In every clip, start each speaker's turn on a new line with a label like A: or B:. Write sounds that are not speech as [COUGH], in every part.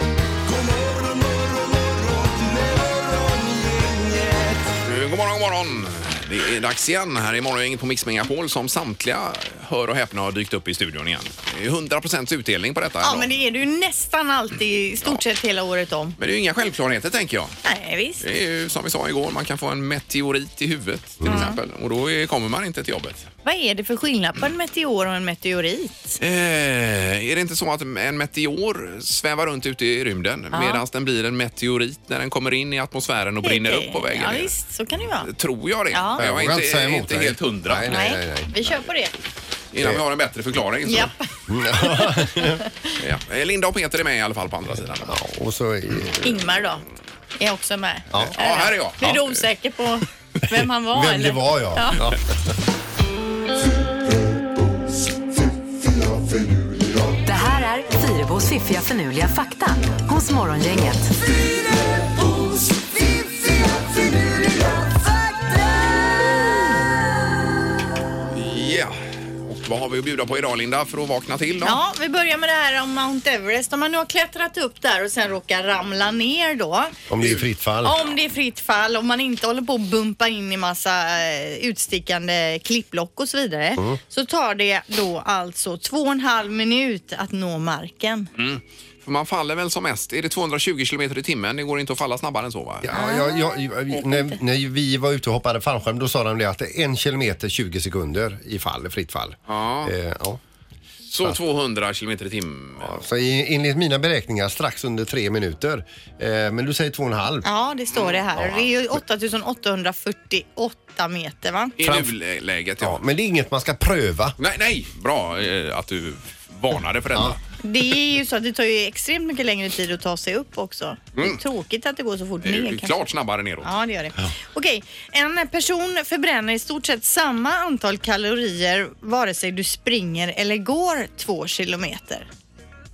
A: Eh, Det är dags igen här i Morgongänget på Mix Megapol som samtliga, hör och häpna, har dykt upp i studion igen. Det är 100% utdelning på detta.
B: Ja,
A: ändå.
B: men det är du ju nästan alltid, i stort sett hela året om.
A: men det är ju inga självklarheter tänker jag.
B: Nej, visst.
A: Det är ju som vi sa igår, man kan få en meteorit i huvudet till
B: Mm.
A: exempel och då är- kommer man inte till jobbet.
B: Vad är det för skillnad på en meteor och en meteorit?
A: Eh, är det inte så att en meteor svävar runt ute i rymden medan den blir en meteorit när den kommer in i atmosfären och brinner upp på vägen
B: Ja,
A: ner?
B: visst, så kan det ju vara.
A: Tror jag det.
B: Ja.
A: Men jag
B: Jag
C: vågar
A: är
C: inte säga
A: inte,
C: emot
A: inte
C: dig.
A: helt hundra.
C: Nej, nej.
B: Nej, vi kör på det.
A: Innan vi har en bättre förklaring. Så.
B: Japp.
A: Ja. Eh, Linda och Peter är med i alla fall på andra sidan. Ja,
C: Och så i-
B: Ingmar då, är också med. Ja,
A: här är jag.
B: Blir du osäker på vem han var?
C: [LAUGHS] vem det
B: eller?
C: var ja. ja.
D: Det här är Fyrabos fiffiga förnuliga fakta hos Morgongänget.
A: Ja. Och vad har vi att bjuda på idag Linda för att vakna till då?
B: Ja, vi börjar med det här om Mount Everest. Om man nu har klättrat upp där och sen råkar ramla ner då.
C: Om det är fritt fall.
B: Om det är fritt fall, om man inte håller på att bumpa in i massa eh, utstickande klippblock och så vidare.
A: Mm.
B: Så tar det då alltså två och en halv minut att nå marken.
A: Mm. För man faller väl som mest, är det 220 kilometer i timmen? Det går inte att falla snabbare än så va?
C: Ja, jag, jag, jag, när, när vi var ute och hoppade fallskärm då sa de det att det är en kilometer 20 sekunder i fall, fritt fall.
A: Ja.
C: Eh, ja.
A: Så 200 kilometer i timmen.
C: Så i, enligt mina beräkningar strax under tre minuter. Eh, men du säger två och en halv.
B: Ja, det står det här.
A: Mm.
B: Det är ju 8848 meter va?
A: I
C: Framf-
A: nuläget ja.
C: Ja, men det är inget man ska pröva.
A: Nej, nej! Bra eh, att du varnade för detta.
B: Det är ju så att det tar ju extremt mycket längre tid att ta sig upp också. Det är tråkigt att det går så fort
A: Mm. Det är
B: ner
A: ju
B: kanske.
A: Eh, klart snabbare neråt.
B: Ja, det gör det. Okej, en person förbränner i stort sett samma antal kalorier vare sig du springer eller går två kilometer.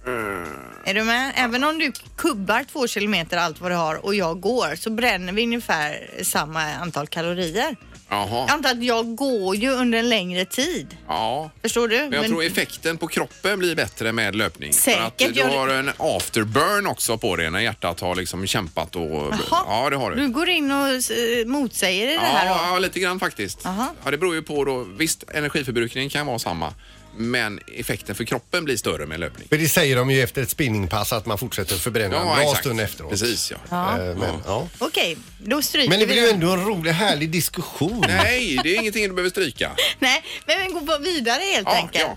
A: Mm.
B: Är du med? Även om du kubbar två kilometer allt vad du har och jag går så bränner vi ungefär samma antal kalorier.
A: Jaha.
B: Jag antar att jag går ju under en längre tid.
A: Ja.
B: Förstår du?
A: Men jag tror effekten på kroppen blir bättre med löpning. För att
B: Säkert
A: du
B: gör det.
A: har en afterburn också på det när hjärtat har liksom kämpat och...
B: Jaha.
A: Ja, det har du.
B: Du går in och eh, motsäger i det här då?
A: Ja, ja, lite grann faktiskt.
B: Aha.
A: Ja, det beror ju på då. Visst, energiförbrukningen kan vara samma, men effekten för kroppen blir större med löpning.
C: För det säger de ju efter ett spinningpass att man fortsätter förbränna en bra
A: exakt.
C: stund efteråt.
A: Precis, ja.
C: Eh, men, ja.
B: Okej, då stryker
C: men det
B: vi
C: blir ju ändå en rolig härlig diskussion.
A: Nej, det är ingenting du behöver
B: [LAUGHS]
A: stryka.
B: Nej, men vi går bara vidare helt
A: Ja,
B: enkelt.
A: ja.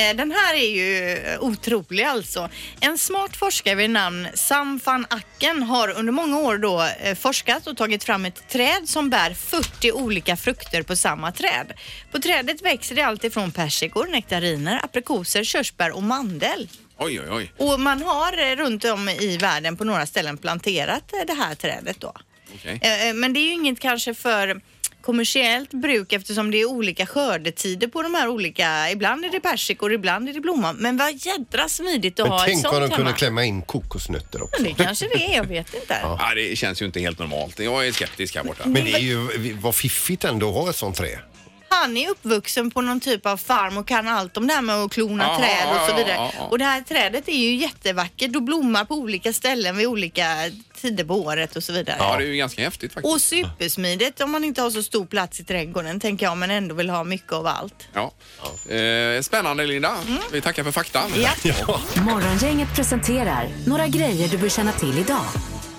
B: Eh, Den här är ju eh, otrolig alltså. En smart forskare vid namn Sam van Acken har under många år då eh, forskat och tagit fram ett träd som bär 40 olika frukter på samma träd. På trädet växer det allt ifrån persikor, nektariner, aprikoser, körsbär och mandel.
A: Oj, oj, oj.
B: Och man har eh, runt om i världen på några ställen planterat eh, det här trädet då.
A: Okej.
B: Eh, eh, Men det är ju inget kanske för kommersiellt bruk eftersom det är olika skördetider på de här olika. Ibland är det persikor, ibland är det blomman. Men vad jädra smidigt att
C: Men
B: ha ett
C: tänk
B: sånt
C: om de
B: hemma.
C: kunde klämma in kokosnötter också.
B: Det kanske det är, jag vet inte.
A: Ja, det känns ju inte helt normalt. Jag är skeptisk här borta.
C: Men det är ju, vad fiffigt ändå att ha ett sånt trä.
B: Han är uppvuxen på någon typ av farm och kan allt om det här med att klona
A: Ja,
B: träd och
A: ja,
B: så vidare.
A: ja, ja.
B: Och det här trädet är ju jättevackert och blommar på olika ställen vid olika tider på året och så vidare.
A: Ja, det är ju ganska häftigt faktiskt.
B: Och supersmidigt om man inte har så stor plats i trädgården tänker jag men ändå vill ha mycket av allt.
A: Ja. Eh, spännande Linda. Vi tackar för faktan.
B: Mm. Ja.
D: Morgongänget presenterar några grejer du bör känna till idag.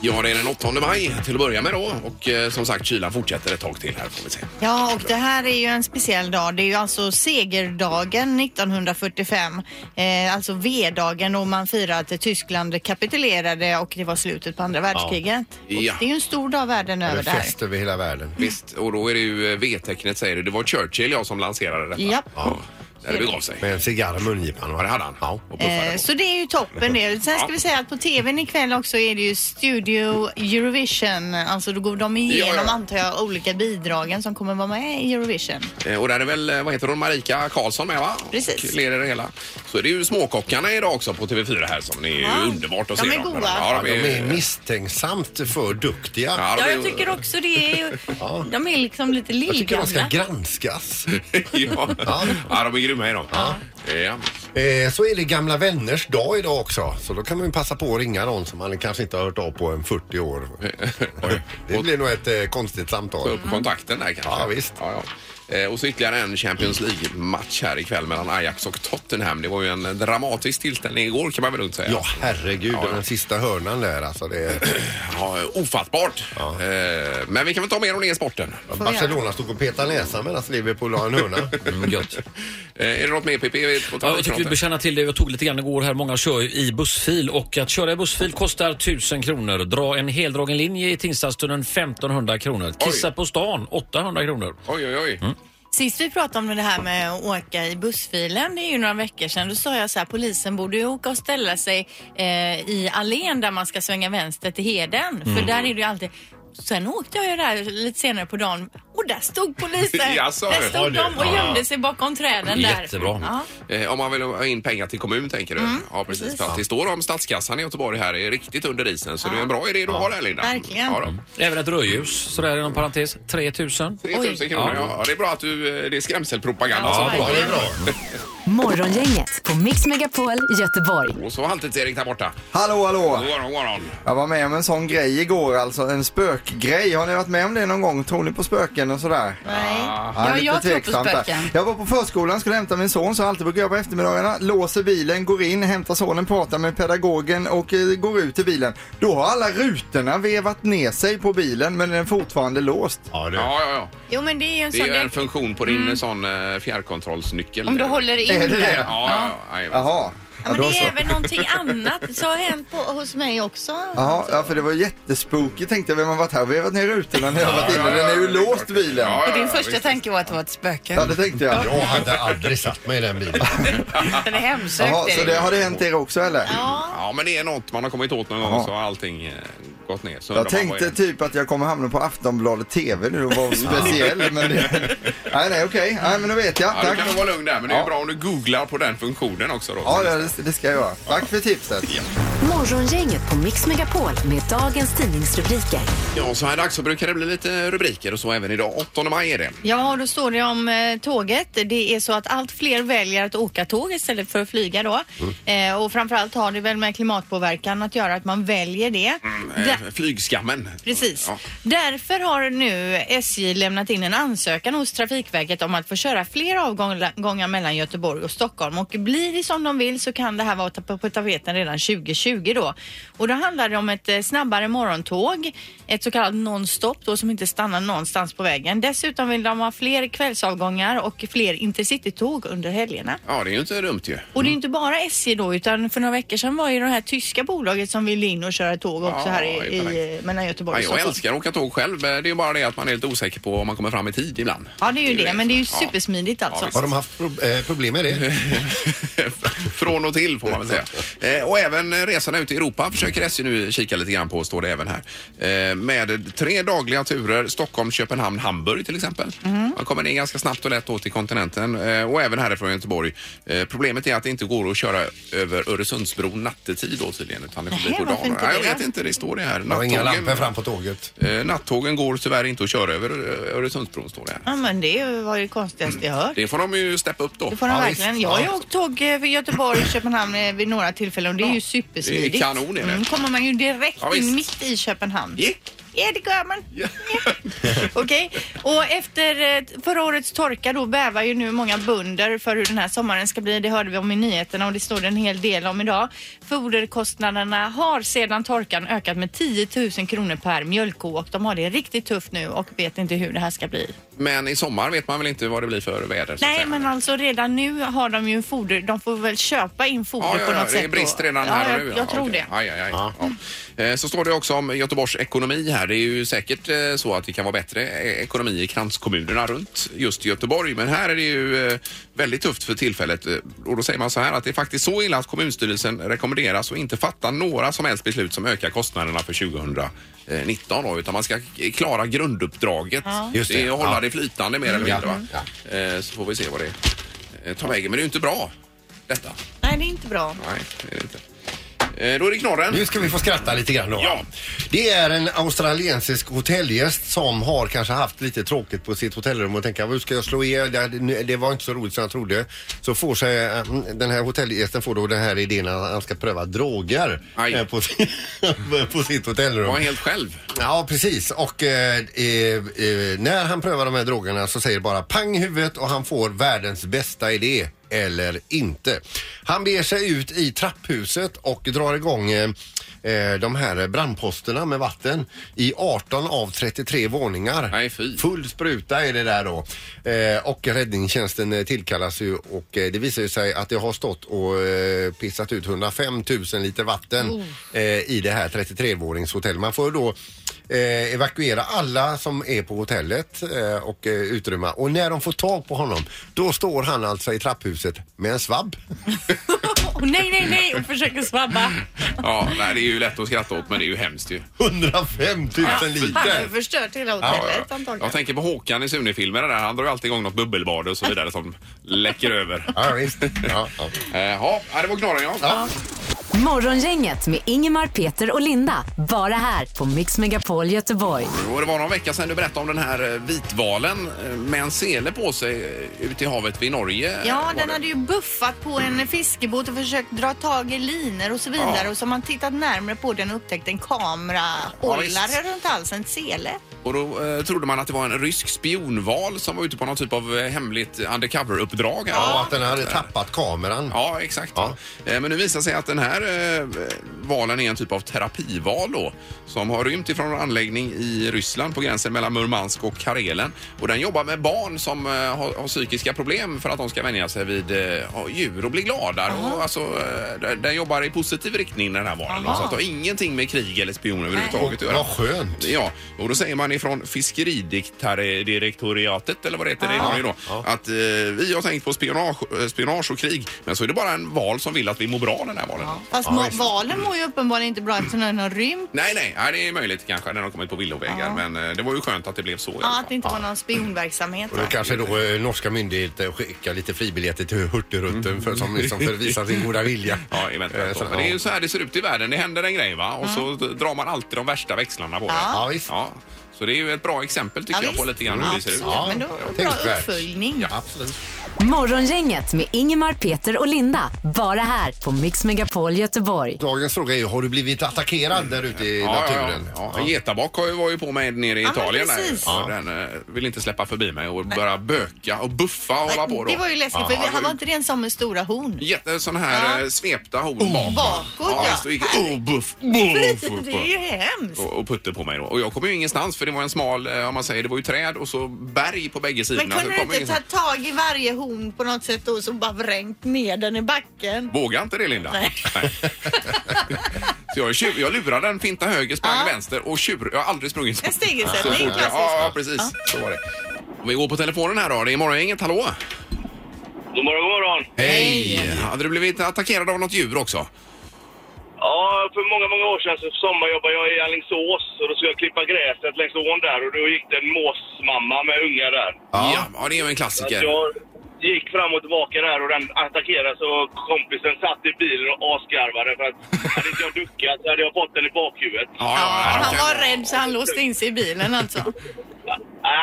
A: Ja, det är den 8 maj till att börja med då och eh, som sagt kylan fortsätter ett tag till här får vi se.
B: Ja, och det här är ju en speciell dag. Det är ju alltså segerdagen 1945. Eh, alltså V-dagen och man firar att Tyskland kapitulerade och det var slutet på andra världskriget. Och
A: Ja.
B: Det är ju en stor dag världen
C: Det
B: över
C: är
B: där.
C: fest över hela världen.
A: Visst, och då är det ju eh, V-tecknet säger du. Det var Churchill jag som lanserade detta.
B: Japp.
A: Ja. Där det begav sig.
C: Med en cigarr i mungipan.
A: Ja,
C: va?
A: det hade han.
C: Ja.
A: Och puffade
B: Eh,
A: på.
B: Så det är ju toppen det. Sen ska vi säga att på tvn ikväll också är det ju Studio Eurovision. Alltså då går de igenom
A: Ja, ja.
B: antar jag olika bidragen som kommer vara med i Eurovision.
A: Eh, Och där är väl, eh, vad heter hon, Marika Karlsson med va?
B: Precis.
A: Och leder det hela. Så är det ju Småkockarna idag också på TV4 här som det är ju
B: Ja.
A: underbart att
B: De
A: se
B: är
A: dem.
B: goda.
A: Ja, de
C: De är
A: är
C: misstänksamt för duktiga.
A: Eh. Ja, de
E: Ja,
A: är-
E: jag tycker
A: [LAUGHS]
E: också det är ju... De är liksom lite
C: Jag tycker de ska
E: lillgamla.
C: granskas.
A: ja. ja, de är grymma är de. Ja.
C: Eh, så är det gamla vänners dag idag också. Så då kan man ju passa på att ringa någon som man kanske inte har hört av på en 40 år.
A: Eh, [LAUGHS]
C: Det blir nog ett eh, konstigt
A: Ta
C: samtal.
A: upp kontakten där kanske.
C: Ja, visst.
A: Ja, ja. Eh, Och så ytterligare en Champions League-match här ikväll mellan Ajax och Tottenham. Det var ju en dramatisk tillställning igår kan man väl lugnt säga.
C: Ja, herregud.
A: Ja, ja.
C: Den sista hörnan där alltså. Det
A: Ja, ofattbart. Eh, Men vi kan väl ta mer om det i sporten.
C: Barcelona stod och petade näsan medan Liverpool la
A: [LAUGHS]
C: en hörna.
F: [LAUGHS]
G: Mm, gött.
A: Eh, Är det något mer PP? På
G: Ja, jag tycker vi bör känna till det. Jag tog lite grann igår här. Många kör ju i bussfil och att köra i bussfil kostar 1000 kronor. Dra en heldragen linje i Tingstadstunneln 1500 kronor. Kissa på stan 800 kronor.
A: Oj, oj, oj.
B: Sist vi pratade om det här med att åka i bussfilen, det är ju några veckor sedan, då sa jag så här, polisen borde ju åka och ställa sig eh, i allén där man ska svänga vänster till Heden.
H: Mm.
B: För där är det ju alltid... Sen åkte jag ju där lite senare på dagen och där stod
H: [LAUGHS]
B: polisen.
A: Jaså,
B: där
A: har
B: stod
A: du?
B: de och gömde sig bakom träden där.
G: Jättebra.
B: Ja.
A: Eh, Om man vill ha in pengar till kommun tänker du?
E: Mm,
A: ja, precis. För att det står om statskassan i Göteborg här är riktigt under isen. Så det är en bra idé du har där Linda.
B: Verkligen.
A: Ja, då.
G: Även ett rödljus, sådär inom parentes, 3000.
A: 3000 kronor, ja. ja. Det är bra att du, eh, det är skrämselpropaganda.
B: Ja,
A: som
B: verkligen.
A: pågår.
D: Morgongänget på Mix Megapol Göteborg.
A: Och så Halvtids-Erik där borta.
H: Hallå, hallå!
A: God morgon, god morgon.
H: Jag var med om en sån grej igår, alltså en spökgrej. Har ni varit med om det någon gång? Tror ni på spöken och sådär?
E: Nej.
H: Ja,
E: Ja,
H: lite
E: jag tror på
H: tveksamt där.
E: spöken.
H: Jag var på förskolan, skulle hämta min son, så jag alltid brukar göra på eftermiddagarna. Låser bilen, går in, hämtar sonen, pratar med pedagogen och eh, går ut till bilen. Då har alla rutorna vevat ner sig på bilen, men den är fortfarande låst.
C: Ja, du.
A: Ja, ja, ja.
B: Jo men det är ju en
A: Det är
B: sån...
A: ju en
B: Det,
A: funktion på din sån eh, fjärrkontrollsnyckel.
E: Mm. Om du
A: där.
E: håller in
H: Är det
E: den.
H: det?
A: Ja, ja, ja. jajamän.
H: Jaha.
B: ja, men
H: då
B: det
H: så.
B: är även någonting annat som har hänt på, hos mig också.
H: Jaha, ja, för det var jättespooky tänkte jag. Vem har varit här och vevat ner rutorna när jag har varit
A: Ja,
H: inne?
A: ja,
H: Den är ju
A: ja, det är
H: låst
A: klart.
H: bilen.
A: Ja,
E: Och
A: ja,
E: din
A: ja,
E: första
A: visst.
E: tanke var att det var ett spöke.
H: Ja, det tänkte jag.
C: Jag hade aldrig satt mig i den bilen.
E: Den är hemsökt.
H: Jaha, så
E: Erik.
H: det har det hänt er också eller?
A: Ja, men det är något man har kommit åt någon gång så har allting eh, gått ner. Så
H: Jag
A: undrar man vad
H: tänkte
A: är det?
H: typ att jag kommer hamna på Aftonbladet TV nu
A: [LAUGHS]
H: och vara speciell men det... Nej, nej, okej. Nej, men då vet jag.
A: Ja, du kan nog vara
H: Tack.
A: lugn där, men det är ju
H: Ja.
A: bra om du googlar på den funktionen också då.
H: Ja, det, det ska jag göra. Tack för tipset.
D: Morgongänget på Mix Megapol med dagens tidningsrubriker.
A: Ja, så här dags så brukar det bli lite rubriker och så även idag. 8 maj är det.
B: Ja, och då står det om eh, tåget. Det är så att allt fler väljer att åka tåg istället för att flyga då. Eh, och framförallt har det väl med klimatpåverkan att göra att man väljer det. Där-
A: Eh, Flygskammen.
B: Precis.
A: Ja.
B: Därför har nu SJ lämnat in en ansökan hos Trafikverket om att få köra fler avgångar mellan Göteborg och Stockholm. Och blir det som de vill så kan det här vara ta- på tapeten redan 2020 då. Och då handlar det om ett eh, snabbare morgontåg, ett så kallat nonstop då som inte stannar någonstans på vägen. Dessutom vill de ha fler kvällsavgångar och fler intercitytåg under helgerna.
A: Ja, det är ju inte dumt ju.
B: Och det är inte bara SJ då utan för några veckor sedan var ju det här tyska bolaget som ville in och köra tåg också
A: Ja,
B: här i,
A: det är
B: i,
A: perfekt.
B: mellan Göteborg
A: Ja,
B: och
A: jag
B: Stockholm.
A: älskar att åka tåg själv. Eh, Det är ju bara det att man är lite osäker på om man kommer fram i tid ibland.
B: Ja, det är ju det, men det är ju
A: Ja.
B: supersmidigt alltså.
C: Har de haft pro- eh, problem med det?
A: [LAUGHS] Från och till får man väl säga. Eh, och även eh, resorna ut i Europa försöker SJ nu kika lite grann på, står det även här. Eh, med tre dagliga turer, Stockholm, Köpenhamn, Hamburg till exempel.
B: Mhm.
A: Man kommer ner ganska snabbt och lätt åt till kontinenten eh, och även härifrån Göteborg. Eh, problemet är att det inte går att köra över Öresundsbron nattetid då tydligen, utan det får bli
B: Nähä,
A: på
B: varför
A: dagen.
B: inte
A: Ja,
B: det
A: jag vet
B: då?
A: inte, det står det här.
C: Jag har inga
A: Nattågen-
C: lampor fram på tåget.
A: eh, nattågen går tyvärr inte att köra över eh, Öresundsbron, står det här.
B: Ja, men det var ju det konstigaste jag hört.
A: Det får de ju steppa upp då.
B: Det får de
A: Ja,
B: verkligen.
A: visst.
B: Jag har ju
A: Ja.
B: åkt tåg eh, för Göteborg och Köpenhamn eh, vid några tillfällen och det är ju supersmidigt.
A: Det är kanon, är det.
B: Mm, Då kommer man ju direkt
A: Ja, visst.
B: in mitt i Köpenhamn.
A: Ja.
B: Ja, det gör man.
A: Ja.
B: [LAUGHS] Okej, och efter eh, förra årets torka då bävar ju nu många bönder för hur den här sommaren ska bli. Det hörde vi om i nyheterna och det står det en hel del om idag. Foderkostnaderna har sedan torkan ökat med 10 000 kronor per mjölkko och de har det riktigt tufft nu och vet inte hur det här ska bli.
A: Men i sommar vet man väl inte vad det blir för väder? så att
B: Nej,
A: säga.
B: men alltså redan nu har de ju en foder. De får väl köpa in foder
A: Ja, ja,
B: på
A: ja,
B: något
A: det
B: sätt.
A: är brist
B: då.
A: redan
B: ja,
A: här
B: jag,
A: och nu.
B: Jag tror
A: okej.
B: det.
A: Aj, aj, aj. Ja. Eh, Så står det också om Göteborgs ekonomi här. Det är ju säkert eh, så att det kan vara bättre eh, ekonomi i kranskommunerna runt just Göteborg. Men här är det ju eh, väldigt tufft för tillfället. Eh, Och då säger man så här att det är faktiskt så illa att kommunstyrelsen rekommenderas att inte fatta några som helst beslut som ökar kostnaderna för 2019 då, utan man ska klara grunduppdraget.
C: Just det.
A: är att hålla
C: Ja.
A: det flytande mer eller
C: Ja.
A: mindre. Va? Eh, Så får vi se vad det eh, tar vägen. Men det är ju inte bra detta.
B: Nej, det är inte bra.
A: Nej, det är det inte. Eh, Då är det knorren.
C: Nu ska vi få skratta lite grann då.
A: Ja.
C: Det är en australiensisk hotellgäst som har kanske haft lite tråkigt på sitt hotellrum och tänker hur ska jag slå er? Det, det var inte så roligt som jag trodde. Så får sig eh, den här hotellgästen får då den här idén att han ska pröva droger
A: Aj.
C: eh, på, sin, [LAUGHS] på sitt hotellrum.
A: Var helt själv.
C: Ja, precis. Och eh, eh, eh, när han prövar de här drogerna så säger det bara pang i huvudet och han får världens bästa idé. Eller inte. Han beger sig ut i trapphuset och drar igång eh, eh, de här brandposterna med vatten i 18 av 33 våningar.
A: Nej, fy.
C: Full spruta är det där då. Eh, och räddningstjänsten eh, tillkallas ju och eh, det visar ju sig att det har stått och eh, pissat ut 105 000 liter vatten eh, i det här 33-våningshotellet. Man får då eh, evakuera alla som är på hotellet eh, och eh, utrymma. Och när de får tag på honom, då står han alltså i trapphuset med en svabb. [LAUGHS]
B: Och nej, nej, nej och
A: [LAUGHS]
B: försöker svabba.
A: Ja, nej, det är ju lätt att skratta åt men det är ju hemskt ju.
C: 105 000
B: Han har ju
C: liter!
B: förstört hela
A: Ja,
B: hotellet
A: ja.
B: antagligen.
A: Jag tänker på Håkan i Sune-filmerna där. Han drar ju alltid igång något bubbelbad och så vidare som läcker över.
C: Ja, visst. Ja, ja.
A: Eh, Ja, ja, det var knorren ja.
D: Morgongänget med Ingemar, Peter och Linda. Bara här på Mix Megapol Göteborg.
A: Och det var någon vecka sedan du berättade om den här eh, vitvalen eh, med en sele på sig eh, ute i havet vid Norge.
B: Ja,
A: Var
B: den
A: det.
B: hade ju buffat på en fiskebåt och försökt dra tag i linor och så vidare.
A: Ja.
B: Och så har man tittat närmare på den och upptäckt en kamerahållare
A: Ja, visst.
B: runt halsen, ett sele.
A: Och då eh, trodde man att det var en rysk spionval som var ute på någon typ av eh, hemligt undercover-uppdrag. här.
C: Och att den hade tappat kameran.
A: Ja, exakt.
C: Ja.
A: Eh, Men nu visar det sig att den här eh, valen är en typ av terapival då, som har rymt ifrån en anläggning i Ryssland på gränsen mellan Murmansk och Karelen. Och den jobbar med barn som eh, har, har psykiska problem för att de ska vänja sig vid eh, ja, djur och bli gladare. Och alltså, eh, den- den jobbar i positiv riktning den här valen. då, Så att det har ingenting med krig eller spioner överhuvudtaget att göra.
C: Vad skönt!
A: Ja, och då säger man ifrån fiskeridirektoriatet eller vad det heter
B: Ah.
A: i Norge då, att eh, vi har tänkt på spionage, eh, spionage och krig, men så är det bara en val som vill att vi mår bra den här valen.
B: Fast må, valen mår ju uppenbarligen inte bra eftersom den har rymt.
A: Nej, nej, nej, det är möjligt kanske när de kommit på villovägar, men eh, det var ju skönt att det blev så. i alla
B: Ja,
A: fall.
B: att det inte var någon spionverksamhet.
C: Och då kanske då eh, norska myndigheter skickar lite fribiljetter till Hurtigruten för, som, som för att visa sin goda vilja.
A: [LAUGHS] Ja, eventuellt.
C: Eh, så-
A: då. Men det är ju så här det ser ut i världen. Det händer en grej va? Och så
B: Mm.
A: drar man alltid de värsta växlarna på det.
C: Ja, visst.
A: Ja. Så det är ju ett bra exempel tycker
B: Ja,
A: jag på
B: visst.
A: lite grann hur det ser ut.
B: Absolut, men då bra
C: tänkvärt.
B: uppföljning.
C: Ja, absolut.
D: Morgongänget med Ingemar, Peter och Linda. Bara här på Mix Megapol Göteborg.
C: Dagens fråga är ju, har du blivit attackerad där ute i
A: Ja, ja,
C: naturen?
A: Ja, ja. Getabock har ju- var ju på mig nere i
B: Ja, men
A: Italien. Där.
B: precis.
A: Ja. Den eh, vill inte släppa förbi mig och börja böka och buffa och hålla på. Då.
B: Det var ju läskigt för vi, han var inte den som med stora horn.
A: Jätte, sån här
B: Ja.
A: eh, svepta horn bakåt.
B: bakåt, ja. Ah,
A: ja. Så gick oh, buff, buff,
B: Det är ju hemskt.
A: och, och putte på mig då. Och jag kom ju ingenstans för det var en smal, eh, om man säger, det var ju träd och så berg på bägge sidorna.
B: Men
A: så
B: kunde
A: kom
B: du
A: jag
B: inte ta
A: ingenstans.
B: tag i varje horn på något sätt och så bara vrängt ner den i backen?
A: Vågar inte det Linda?
B: Nej. [LAUGHS]
A: så jag, tju- jag lurade den, finta höger, sprang
B: Ja.
A: vänster och tjur. Jag har aldrig sprungit så
B: En
A: Så
B: stegersättning
A: fort jag-
B: klassiskt.
A: ja, ja, precis. Så var det. Om vi går på telefonen här då. Det är Morgongänget, hallå?
I: God morgon, god morgon.
A: Hej! Hade du blivit attackerad av något djur också?
I: Ja, för många, många år sedan så sommarjobbade jag i Alingsås och då skulle jag klippa gräset längs ån där och då gick det en måsmamma med ungar där.
A: Ja, ja det är ju en
I: Så att
A: klassiker.
I: jag gick fram och tillbaka där och den attackerade så kompisen satt i bilen och asgarvade för att hade inte jag duckat så hade jag fått den i bakhuvudet.
A: Ja,
B: Ja, han
A: okej.
B: var rädd så han låste in sig i bilen alltså.
I: Ja,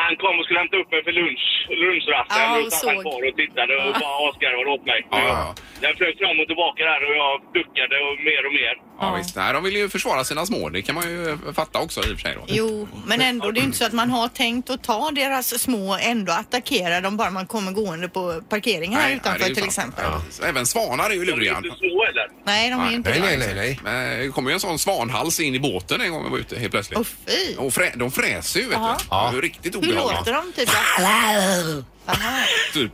I: Han kom och skulle hämta upp mig för lunch, lunchrasten
B: Ja, och
I: och så satt
B: såg.
I: han kvar och tittade och bara asgarvade åt mig.
A: Ja, ja.
I: Den flög fram och tillbaka där och jag duckade och mer och mer.
A: Ja, visst. Nej, de vill ju försvara sina små. Det kan man ju fatta också i och för sig. Då.
B: Jo, men ändå, det är ju inte så att man har tänkt att ta deras små och ändå attackera dem bara man kommer gående på parkeringen här
A: Nej,
B: utanför
A: nej, det är ju
B: till
A: sant.
B: exempel.
A: Ja. Så Även svanar är ju
I: De är
A: luriga.
I: inte små eller?
B: Nej, de är ju inte
C: Nej,
B: det.
C: nej, nej, nej.
A: Men Det kom ju en sån svanhals in i båten en gång vi var ute helt plötsligt.
B: Åh fy!
A: Och frä, de fräser ju, vet
B: Ja.
A: du. Det är ju riktigt
B: Hur
A: obehagligt.
B: låter de typ? Aha.
A: typ.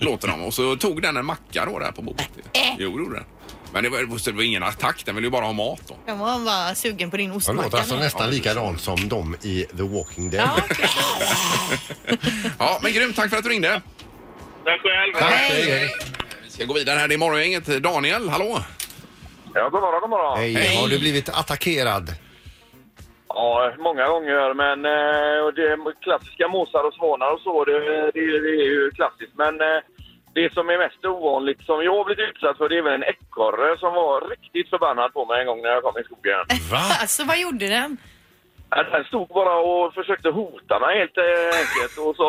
A: Låter de. Och så tog den en macka då där på bordet.
C: Äh.
A: Jo, det gjorde den. Men det var, det var ingen attack, den ville ju bara ha mat då.
B: De var bara sugen på din
C: Han låter
B: ostmacka.
C: alltså nästan likadant som de i The Walking Dead.
B: Ja, precis.
A: Ja, men grymt. Tack för att du ringde.
I: Tack själv!
C: Tack, hej, hej.
A: Vi ska gå vidare här. Det är Morgongänget. Daniel, hallå!
J: Ja, god morgon, god morgon.
C: Hej.
A: Hej. Mm.
C: Har du blivit attackerad?
J: Ja, många gånger, men eh, och det är klassiska måsar och svanar och så, det, det, det är ju klassiskt. Men eh,
K: det som är mest ovanligt som jag har blivit utsatt för det är väl en ekorre som var riktigt förbannad på mig en gång när jag kom i skogen.
B: [LAUGHS] Alltså vad gjorde den?
K: Ja, Den stod bara och försökte hota mig helt eh, enkelt och så...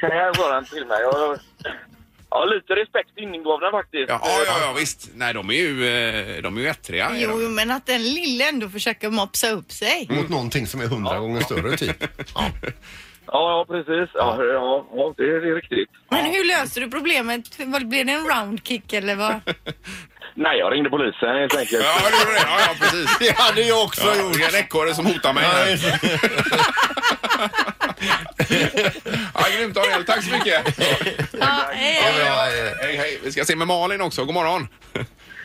K: Kan jag göra den till mig? Och, ja, lite respekt ingav den faktiskt.
A: Ja, ja, ja visst. Nej, de är ju, eh, de är ju ettriga. är
B: Jo,
A: de.
B: men att den lille ändå försöker mopsa upp sig.
C: Mot någonting som är hundra gånger
A: [LAUGHS]
C: större typ.
K: Ja, ja precis. Ja, ja, ja det, är, det är riktigt.
B: Men hur löste du problemet? Vad- Blev det en roundkick eller vad?
K: Nej, jag ringde polisen helt enkelt.
A: Ja, det gjorde det. Ja, ja, precis.
C: [LAUGHS] Det hade jag också
A: Ja,
C: gjort.
A: det är en ekorre som hotar mig. [LAUGHS]
C: Nej.
A: här. Ja, grymt Daniel, tack så mycket.
B: Ja, eh,
C: Ja, eh,
A: Hej, hej. Vi ska se med Malin också. God morgon.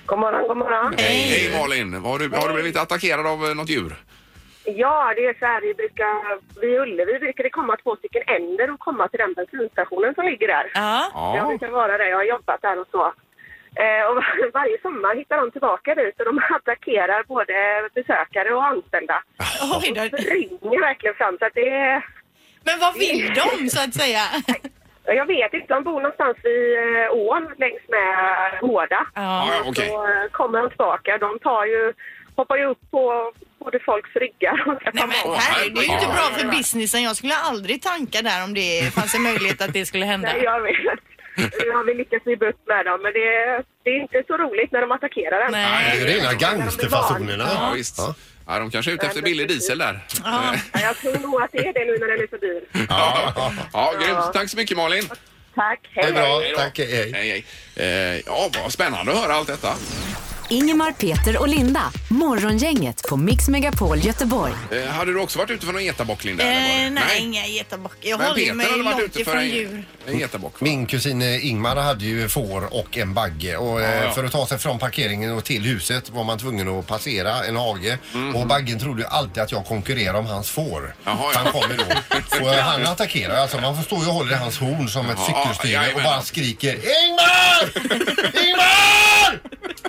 L: God morgon, god morgon.
A: Hej, hej Malin. Har du, har du blivit attackerad av eh, något djur?
L: Ja, det är så här, vi brukar, vid Ullevi brukar det komma två stycken änder och komma till den bensinstationen som ligger där.
B: ja.
L: Jag
A: Ja.
L: brukar vara där, jag har jobbat där och så. Eh, och [LAUGHS] varje sommar hittar de tillbaka dit och de [LAUGHS] attackerar både besökare och anställda.
B: Oj då.
L: De ringer verkligen fram så att det är...
B: Men vad vill de så att säga? [LAUGHS]
L: Jag vet inte, de bor någonstans vid eh, ån längs med Hårda.
B: Ah,
A: Ja, ja, okej.
L: Så eh, kommer de tillbaka. De tar ju, hoppar ju upp på både folks ryggar och ska
B: Nej
L: komma
B: men
L: åt.
B: herregud, det är ju inte
A: Ja,
B: bra för businessen. Jag skulle aldrig tanka där om det fanns en möjlighet att det skulle hända.
L: Nej, jag vet. Nu har vi lyckats bli bukt med dem, men det, det är inte så roligt när de attackerar en.
B: Nej.
C: Det är ju rena gangsterfasonerna.
A: Ja, visst. Ja, de kanske är ute efter billig diesel där. Eh,
B: Ja.
L: Ja, Jag tror nog att det är det nu när den är så dyr.
A: Ja, ja grymt. Tack så mycket Malin.
L: Tack,
C: Det
L: hej.
C: är bra,
A: Hej då.
C: tack. Hej.
A: Hej, hej. Eh, Ja, vad spännande att höra allt detta.
D: Ingemar, Peter och Linda. Morgongänget på Mix Megapol Göteborg.
A: Eh, Hade du också varit ute för någon getabock Linda? eller var det-
B: Eh, nej, inga getabockar. Jag
A: Men
B: håller mig
A: Peter hade varit
B: långt
A: ute för
B: ifrån
A: en,
B: djur.
A: en getabock.
C: Min kusin eh, Ingmar hade ju får och en bagge och eh, för att ta sig från parkeringen och till huset var man tvungen att passera en hage och baggen trodde ju alltid att jag konkurrerade om hans får.
A: Mhm. Jaha, ja.
C: Han kommer då.
A: [LAUGHS]
C: Så eh, han attackerar alltså man förstår ju och håller i hans horn som ett
A: Ja,
C: cykelstyre och
A: jajamän.
C: bara skriker Ingmar! Ingmar!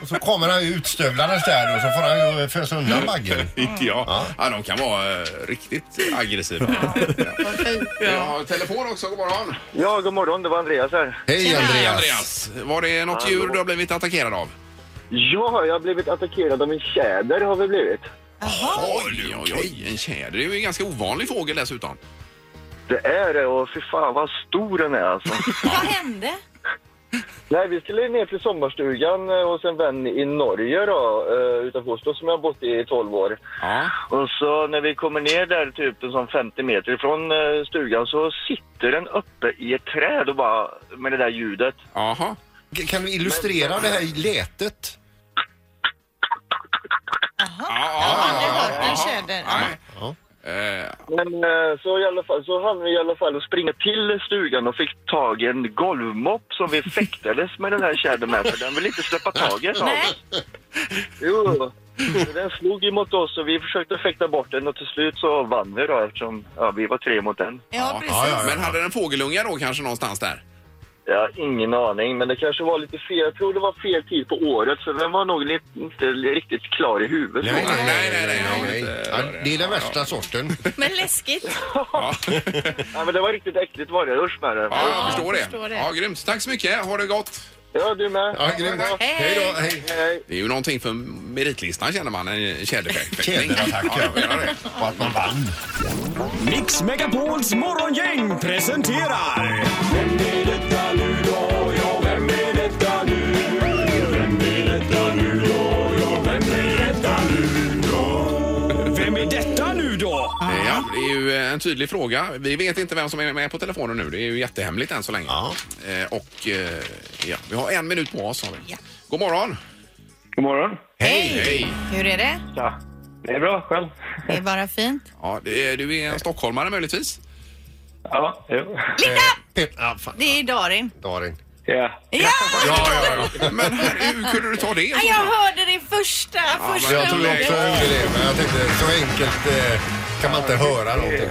C: Och så kommer han ju utstövlandes där och så får han ju eh, fösa undan baggen.
A: [LAUGHS] Ja. ja, de kan vara eh, riktigt aggressiva. Vi har telefon också, god morgon.
K: Ja, god morgon. Det var Andreas här.
C: Hej
A: Hej
C: Andreas!
A: Andreas, var det något djur du har blivit attackerad av?
K: Ja, jag har blivit attackerad av en tjäder har vi blivit.
A: Oj, oj, oj, en tjäder. Det är ju en ganska ovanlig fågel dessutom.
K: Det är det och fy fan vad stor den är alltså.
B: Vad hände?
K: Nej, vi skulle ner till sommarstugan eh, hos en vän i Norge då, eh, utanför Oslo som jag har bott i i 12 år.
A: Ja.
K: Och så när vi kommer ner där typ en sån 50 meter ifrån eh, stugan så sitter den uppe i ett träd och bara med det där ljudet.
A: Jaha.
C: K- Kan du illustrera det här letet?
A: Ja,
B: Aldrig hört en tjäder.
A: Nej.
C: Ja.
A: Eh,
K: Men eh, så i alla fall så hann vi i alla fall att springa till stugan och fick tag i en golvmopp som vi fäktades med den här tjädern med för den ville inte släppa taget av oss. Jo, så den slog emot oss och vi försökte fäkta bort den och till slut så vann vi då eftersom ja, vi var tre mot en.
B: Ja, precis.
C: ja, ja.
A: Men hade den fågelungar då kanske någonstans där?
K: Jag har ingen aning, men det kanske var lite fel. Jag tror det var fel tid på året, så den var nog lite, inte riktigt klar i huvudet.
C: Nej, nej,
A: nej, nej, nej, jag vill inte
C: Ja,
A: höra
C: Det är
A: det.
C: den värsta sorten.
B: Men läskigt.
A: Ja,
K: Ja, men det var riktigt äckligt var det. Usch med det.
A: ja jag
B: jag
A: förstår
B: förstår
A: det.
B: det.
A: Ja, grymt. Tack så mycket. Ha det gott.
K: Ja, du med.
C: Ja, grymt.
B: Hej.
C: Hej då. Hej.
K: Hej.
A: Det är ju någonting för meritlistan känner man,
C: [LAUGHS]
A: en tjäderfäktning.
C: Tjäderattack,
A: Ja, jag menar det.
C: Och att man vann.
F: Mix Megapols morgongäng presenterar... Vem är detta nu då? Ja, vem är detta nu? Vem är detta nu då? Ja, vem är detta nu då? Vem är detta nu då?
A: Eh, Ja, det är ju eh, en tydlig fråga. Vi vet inte vem som är med på telefonen nu. Det är ju jättehemligt än så länge.
C: Ja.
A: Eh, Och eh, ja, vi har en minut på oss. Har vi. God morgon!
K: God morgon.
A: Hej! Hej.
B: Hur är det?
K: Ja. Det är bra, själv.
B: Det är bara fint.
A: Ja, det är- du är en stockholmare möjligtvis?
K: Ja, jo.
C: Pip. Ja, fan.
B: Det är Darin.
C: Darin.
K: Ja.
B: Ja!
A: Ja, ja, ja. Men herregud, hur kunde du ta det?
B: Nej, Jag hörde det första, första
A: men
C: Jag tror
B: ordet.
C: också jag gjorde det, men jag tänkte så enkelt eh, kan man inte höra någonting.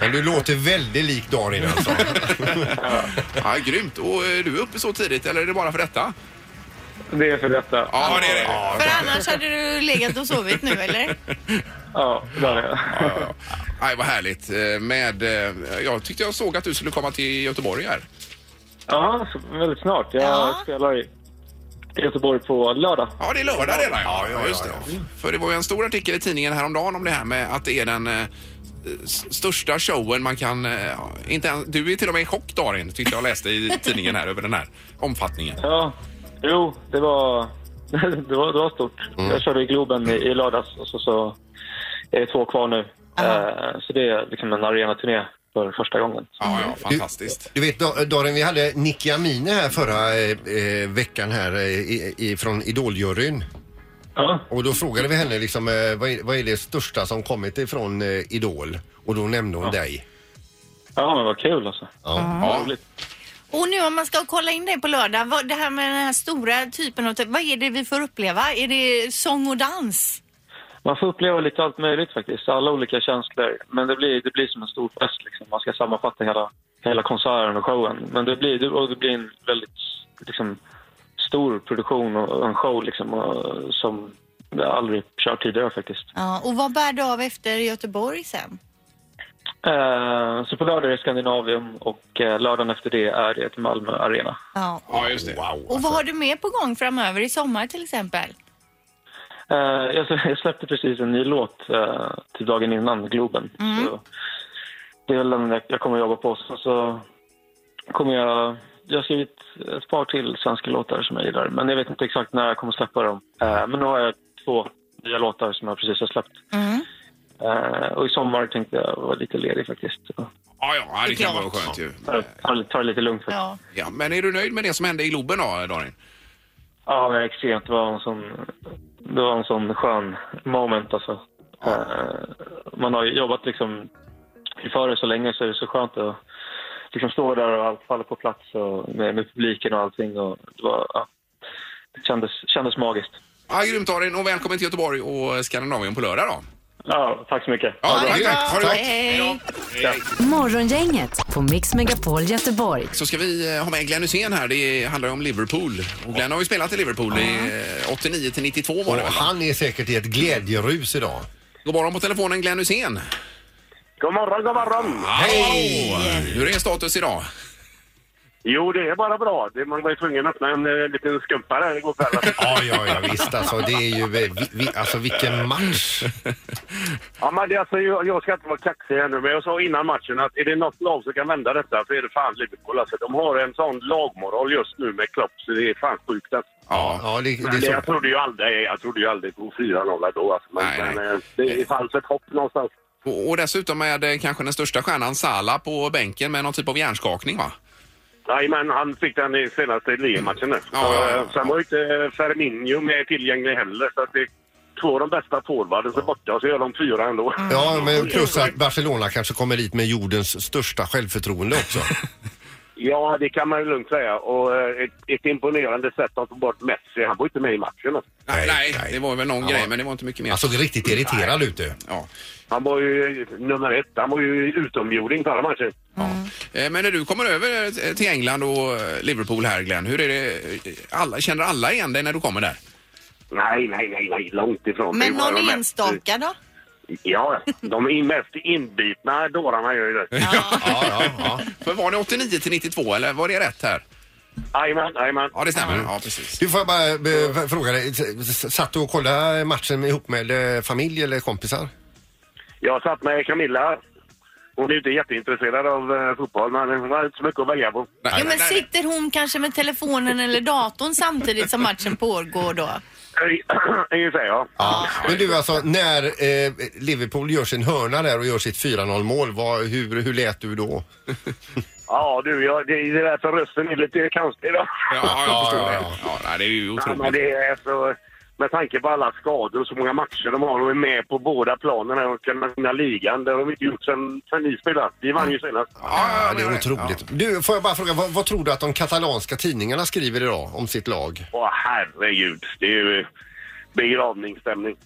C: Men du låter väldigt lik [LAUGHS] Darin alltså.
A: Ja, grymt. Och eh, du är uppe så tidigt, eller är det bara för detta?
K: Det är för detta.
A: Ja, det är det.
B: För annars hade du legat och sovit nu, eller?
J: Ja, där är jag.
A: Nej, vad härligt. Eh, Med, eh, jag tyckte jag såg att du skulle komma till Göteborg här.
J: [LAUGHS] Ja, så väldigt snart. Jag spelar i Göteborg på lördag.
A: Ja, det är lördag redan. Ja, ja, just det. För det var ju en stor artikel i tidningen häromdagen om det här med att det är den eh, s- största showen man kan... eh, ja, inte ens, du är till och med i chock, Darin, tyckte jag läste i tidningen här [LAUGHS] över den här omfattningen.
J: Ja, jo, det var, [LAUGHS] det var, det var stort. Jag körde i Globen i, i lördags och så, så är det två kvar nu. Eh, så det är liksom en arenaturné för första gången.
A: Ja, ja, fantastiskt.
C: Du vet Da- Darin, vi hade Nicky Amine här förra eh, eh, veckan här eh, i, i, från Idoljuryn. Och då frågade vi henne liksom, eh, vad, är, vad är det största som kommit ifrån eh, Idol? Och då nämnde hon dig.
J: Ja, men vad kul alltså.
C: Ja.
B: Och nu om man ska kolla in dig på lördag, vad, det här med den här stora typen av... Vad är det vi får uppleva? Är det sång och dans?
J: Man får uppleva lite allt möjligt faktiskt, alla olika känslor. Men det blir, det blir som en stor fest liksom. Man ska sammanfatta hela, hela konserten och showen. Men det blir, det, och det blir en väldigt liksom, stor produktion och en show liksom, och, som jag aldrig kört tidigare faktiskt.
B: Ja, och vad bär du av efter Göteborg sen?
J: Eh, så på lördag är det Skandinavium och eh, lördagen efter det är det till Malmö Arena.
B: Ja.
A: Ja, just det. Wow.
B: Och vad har du med på gång framöver i sommar till exempel?
J: Eh, jag, slä- jag släppte precis en ny låt eh, till dagen innan Globen.
B: Mm.
J: Så det är väl den jag- jag kommer jobba på. Sen så kommer jag... Jag har skrivit ett par till svenska låtar som jag gillar, men jag vet inte exakt när jag kommer släppa dem. Eh, men nu har jag två nya låtar som jag precis har släppt.
B: Mm.
J: Eh, och i sommar tänkte jag vara lite ledig faktiskt. Så,
A: Ja, ja, det kan vara skönt ju.
J: Ta, ta, ta det lite lugnt faktiskt.
B: Ja.
A: Ja, men är du nöjd med det som hände i Globen då, Darin?
J: Ja, men extremt. Det var en sån, det var en sån skön moment alltså. Eh, Man har ju jobbat liksom inför det så länge så är det så skönt att liksom stå där och allt faller på plats och med, med publiken och allting. Och det var, ja, det kändes, kändes magiskt.
A: Ja, grymt Darin och välkommen till Göteborg och Skandinavien på lördag då.
J: Ja, tack så mycket.
A: Ja, tack, tack. Ha det gott.
B: Hej!
D: Morgongänget på Mix Megapol Göteborg.
A: Så ska vi eh, ha med Glenn Hussein här. Det handlar ju om Liverpool. Och Glenn har ju spelat i Liverpool i eh, 89 till 92 var det
C: Och
A: väl?
C: han är säkert i ett glädjerus idag.
A: God morgon på telefonen Glenn Hussein.
M: God morgon, god morgon!
A: Hej! Hur är status idag?
M: Jo, det är bara bra. Det- Man var ju tvungen att öppna en eh, liten skumpa där igår kväll.
C: Ja, ja, ja visst alltså. Det är ju, eh, vi, vi, alltså vilken match.
M: ja, men det, alltså, jag, jag ska inte vara kaxig här nu, men jag sa innan matchen att är det något lag som kan vända detta så är det fan Liverpool. Alltså, de har en sån lagmoral just nu med Klopp, så det är fan sjukt. Alltså.
A: Ja,
C: ja det,
M: Men
C: det är
M: jag,
C: så.
M: trodde ju aldrig, jag trodde ju aldrig på 4-0 då, alltså. men, men, eh, det fanns ett hopp någonstans.
A: Och, och dessutom med eh, kanske den största stjärnan Salah på bänken med någon typ av hjärnskakning va?
M: Nej, men han fick den i senaste ligamatchen nu.
A: Ja, ja, ja.
M: Så, eh, Sen var ju inte Ferminio med tillgänglig heller, så att det är två av de bästa forwarden så borta och så gör de fyra ändå.
B: Mm.
C: Ja, men plus att Barcelona kanske kommer dit med jordens största självförtroende [LAUGHS] också.
M: Ja, det kan man ju lugnt säga. Och eh, ett, ett imponerande sätt att få bort Messi. Han var ju inte med i matchen. alltså.
A: Nej, nej, Alltså- det var väl någon grej men det var inte mycket mer.
C: Han såg Alltså, riktigt irriterad ut du.
A: Ja.
M: Han var ju nummer ett. Han var ju utomjording förra matchen.
A: Eh, Men när du kommer över eh, till England och eh, Liverpool här Glenn, hur är det? eh, Alla, känner alla igen dig när du kommer där?
M: Nej, nej, nej, nej. Långt ifrån.
B: Men
M: Det var
B: någon
M: de
B: enstaka då?
M: Mest, ja, de är mest inbitna dårarna gör ju det.
A: För var det 89 till 92 eller var det rätt här?
M: Jajamän, jajamän.
A: Ja, det stämmer. Ja, precis.
C: Du får jag bara eh, fråga dig, s- s- satt du och kollade matchen ihop med eh, familj eller kompisar?
M: Jag satt med Camilla. Hon är ju inte jätteintresserad av eh, fotboll, men hon har inte så mycket att välja på.
B: Jo, men sitter hon kanske med telefonen eller datorn samtidigt som matchen pågår då?
M: [CLEARS THROAT] Ungefär, ja.
C: Men du alltså, när eh, Liverpool gör sin hörna där och gör sitt 4-0 mål, vad, hur, hur lät du då?
M: Ja, du, jag, det, det där för rösten är lite konstig då.
A: Ja, jag förstår det. Ja, nej, det är ju
M: Ja, men
A: otroligt.
M: det är så, med tanke på alla skador och så många matcher de har och är med på båda planerna och kan vinna ligan. Det har de inte gjort sen, sen ni spelade. Vi vann ju senast.
C: Ja, det är otroligt. Du, får jag bara fråga, vad, vad tror du att de katalanska tidningarna skriver idag om sitt lag?
M: Åh, herregud. Det är ju begravningsstämning.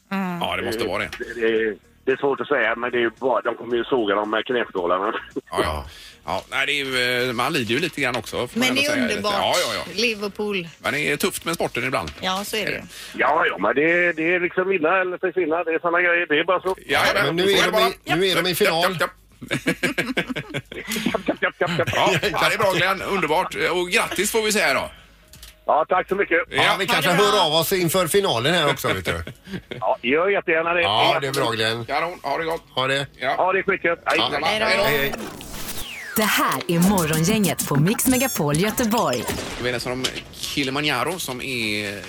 A: Ja, det måste vara det.
M: Det, det, Det är svårt att säga, men det är ju bara, de kommer ju såga dem med knäskålarna. [LAUGHS]
A: Ja, ja. ja nej, det är ju, eh, man lider ju lite grann också. får man
B: Men
A: ändå
B: det är
A: säga.
B: underbart.
A: Ja, ja, ja.
B: Liverpool.
A: Men det är tufft med sporten ibland.
B: Ja, så är det ju.
M: Ja, ja, men det, det är liksom vinna eller försvinna. Det är såna grejer. Det är bara så.
A: Ja,
C: Men nu är, de i, nu är de i final.
M: [LAUGHS]
A: Ja, ja, det är bra Glenn, underbart. Och grattis får vi säga då.
M: Ja, tack så mycket.
C: Ja, vi kanske hör av oss inför finalen här också, vet du.
M: Ja, gör jättegärna det.
C: Ja, det är bra Glenn.
A: Kanon, ha det gott.
C: Ha det.
A: Ja,
M: ha det skitgött. Hej.
C: Hej,
D: Det här är Morgongänget på Mix Megapol Göteborg.
A: Vi är nästan om Kilimanjaro som är i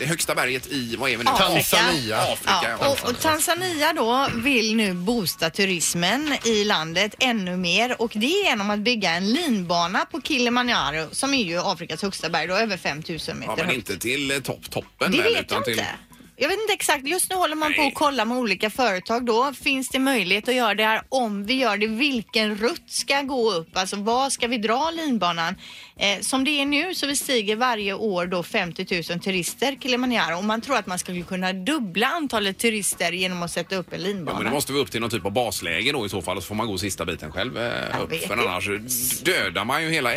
A: det högsta berget i, vad är vi nu?
B: Afrika.
A: Afrika, ja.
B: Ja, och, och Tanzania då vill nu boosta turismen i landet ännu mer och det är genom att bygga en linbana på Kilimanjaro som är ju Afrikas högsta berg då, över 5000 meter
A: ja, men
B: högt.
A: inte till eh, topp, toppen.
B: Det
A: väl,
B: vet jag
A: utan till-
B: inte. Jag vet inte exakt. Just nu håller man på att kolla med olika företag då. Finns det möjlighet att göra det här? Om vi gör det, vilken rutt ska gå upp? Alltså var ska vi dra linbanan? Eh, som det är nu så bestiger varje år då 50 000 turister Kilimanjaro och man tror att man skulle kunna dubbla antalet turister genom att sätta upp en linbana.
A: Ja, men då måste vi upp till någon typ av basläge då i så fall och så får man gå sista biten själv eh, upp.
B: vet
A: För annars dödar man ju hela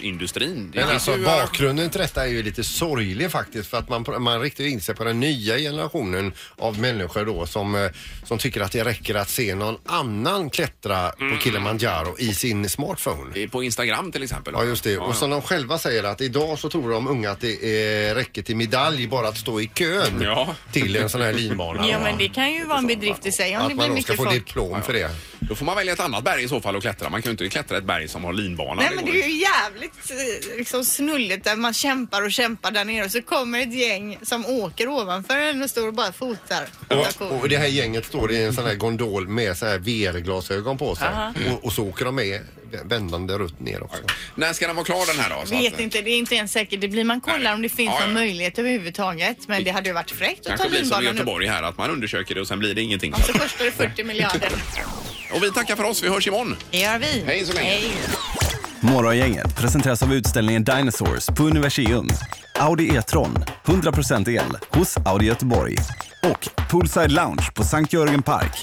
A: äventyrsindustrin.
C: Men
A: finns
C: alltså,
A: ju-
C: bakgrunden till detta är ju lite sorglig faktiskt för att man, man riktar in sig på den nya generationen av människor då som, eh, som tycker att det räcker att se någon annan klättra på Kilimanjaro i sin smartphone.
A: På Instagram till exempel.
C: Ja, just det. Och som de själva säger att idag så tror de unga att det eh, räcker till medalj bara att stå i kön
A: Ja.
C: till en sån här linbana.
B: Ja, men det kan ju vara en bedrift i sig om det
C: Att
B: blir
C: man då ska
B: mycket
C: få
B: folk.
C: diplom för det.
A: Då får man välja ett annat berg i så fall och klättra. Man kan ju inte klättra ett berg som har linbana.
B: Nej
A: Det
B: men
A: går
B: det
A: ju
B: är ju jävligt eh, liksom, snulligt där man kämpar och kämpar där nere och så kommer ett gäng som åker ovanför en och står och bara fotar. Alltså,
C: Och,
A: Oh,
C: och det här gänget står i en sån här gondol med så här VR-glasögon på sig.
B: Aha.
C: Och, och så åker de med vändande rutt ner också.
A: När ska den vara klar den här då? Så
B: Vet
A: att- eh,
B: inte, det är inte ens säkert. Det blir man kollar om det finns
A: Ja, ja.
B: någon möjlighet överhuvudtaget. Men det hade ju varit fräckt att ta
A: kanske blir som i
B: linbanan upp.
A: Göteborg här, att man undersöker det och sen blir det ingenting.
B: Så kostar det 40 miljarder.
A: Och vi tackar för oss. Vi hörs imorgon.
B: Det gör vi.
A: Hej så länge.
N: Morgongänget presenteras av utställningen Dinosaurs på Universium. Audi E-tron, 100% el, hos Audi Göteborg. Och Poolside Lounge på Sankt Jörgen Park.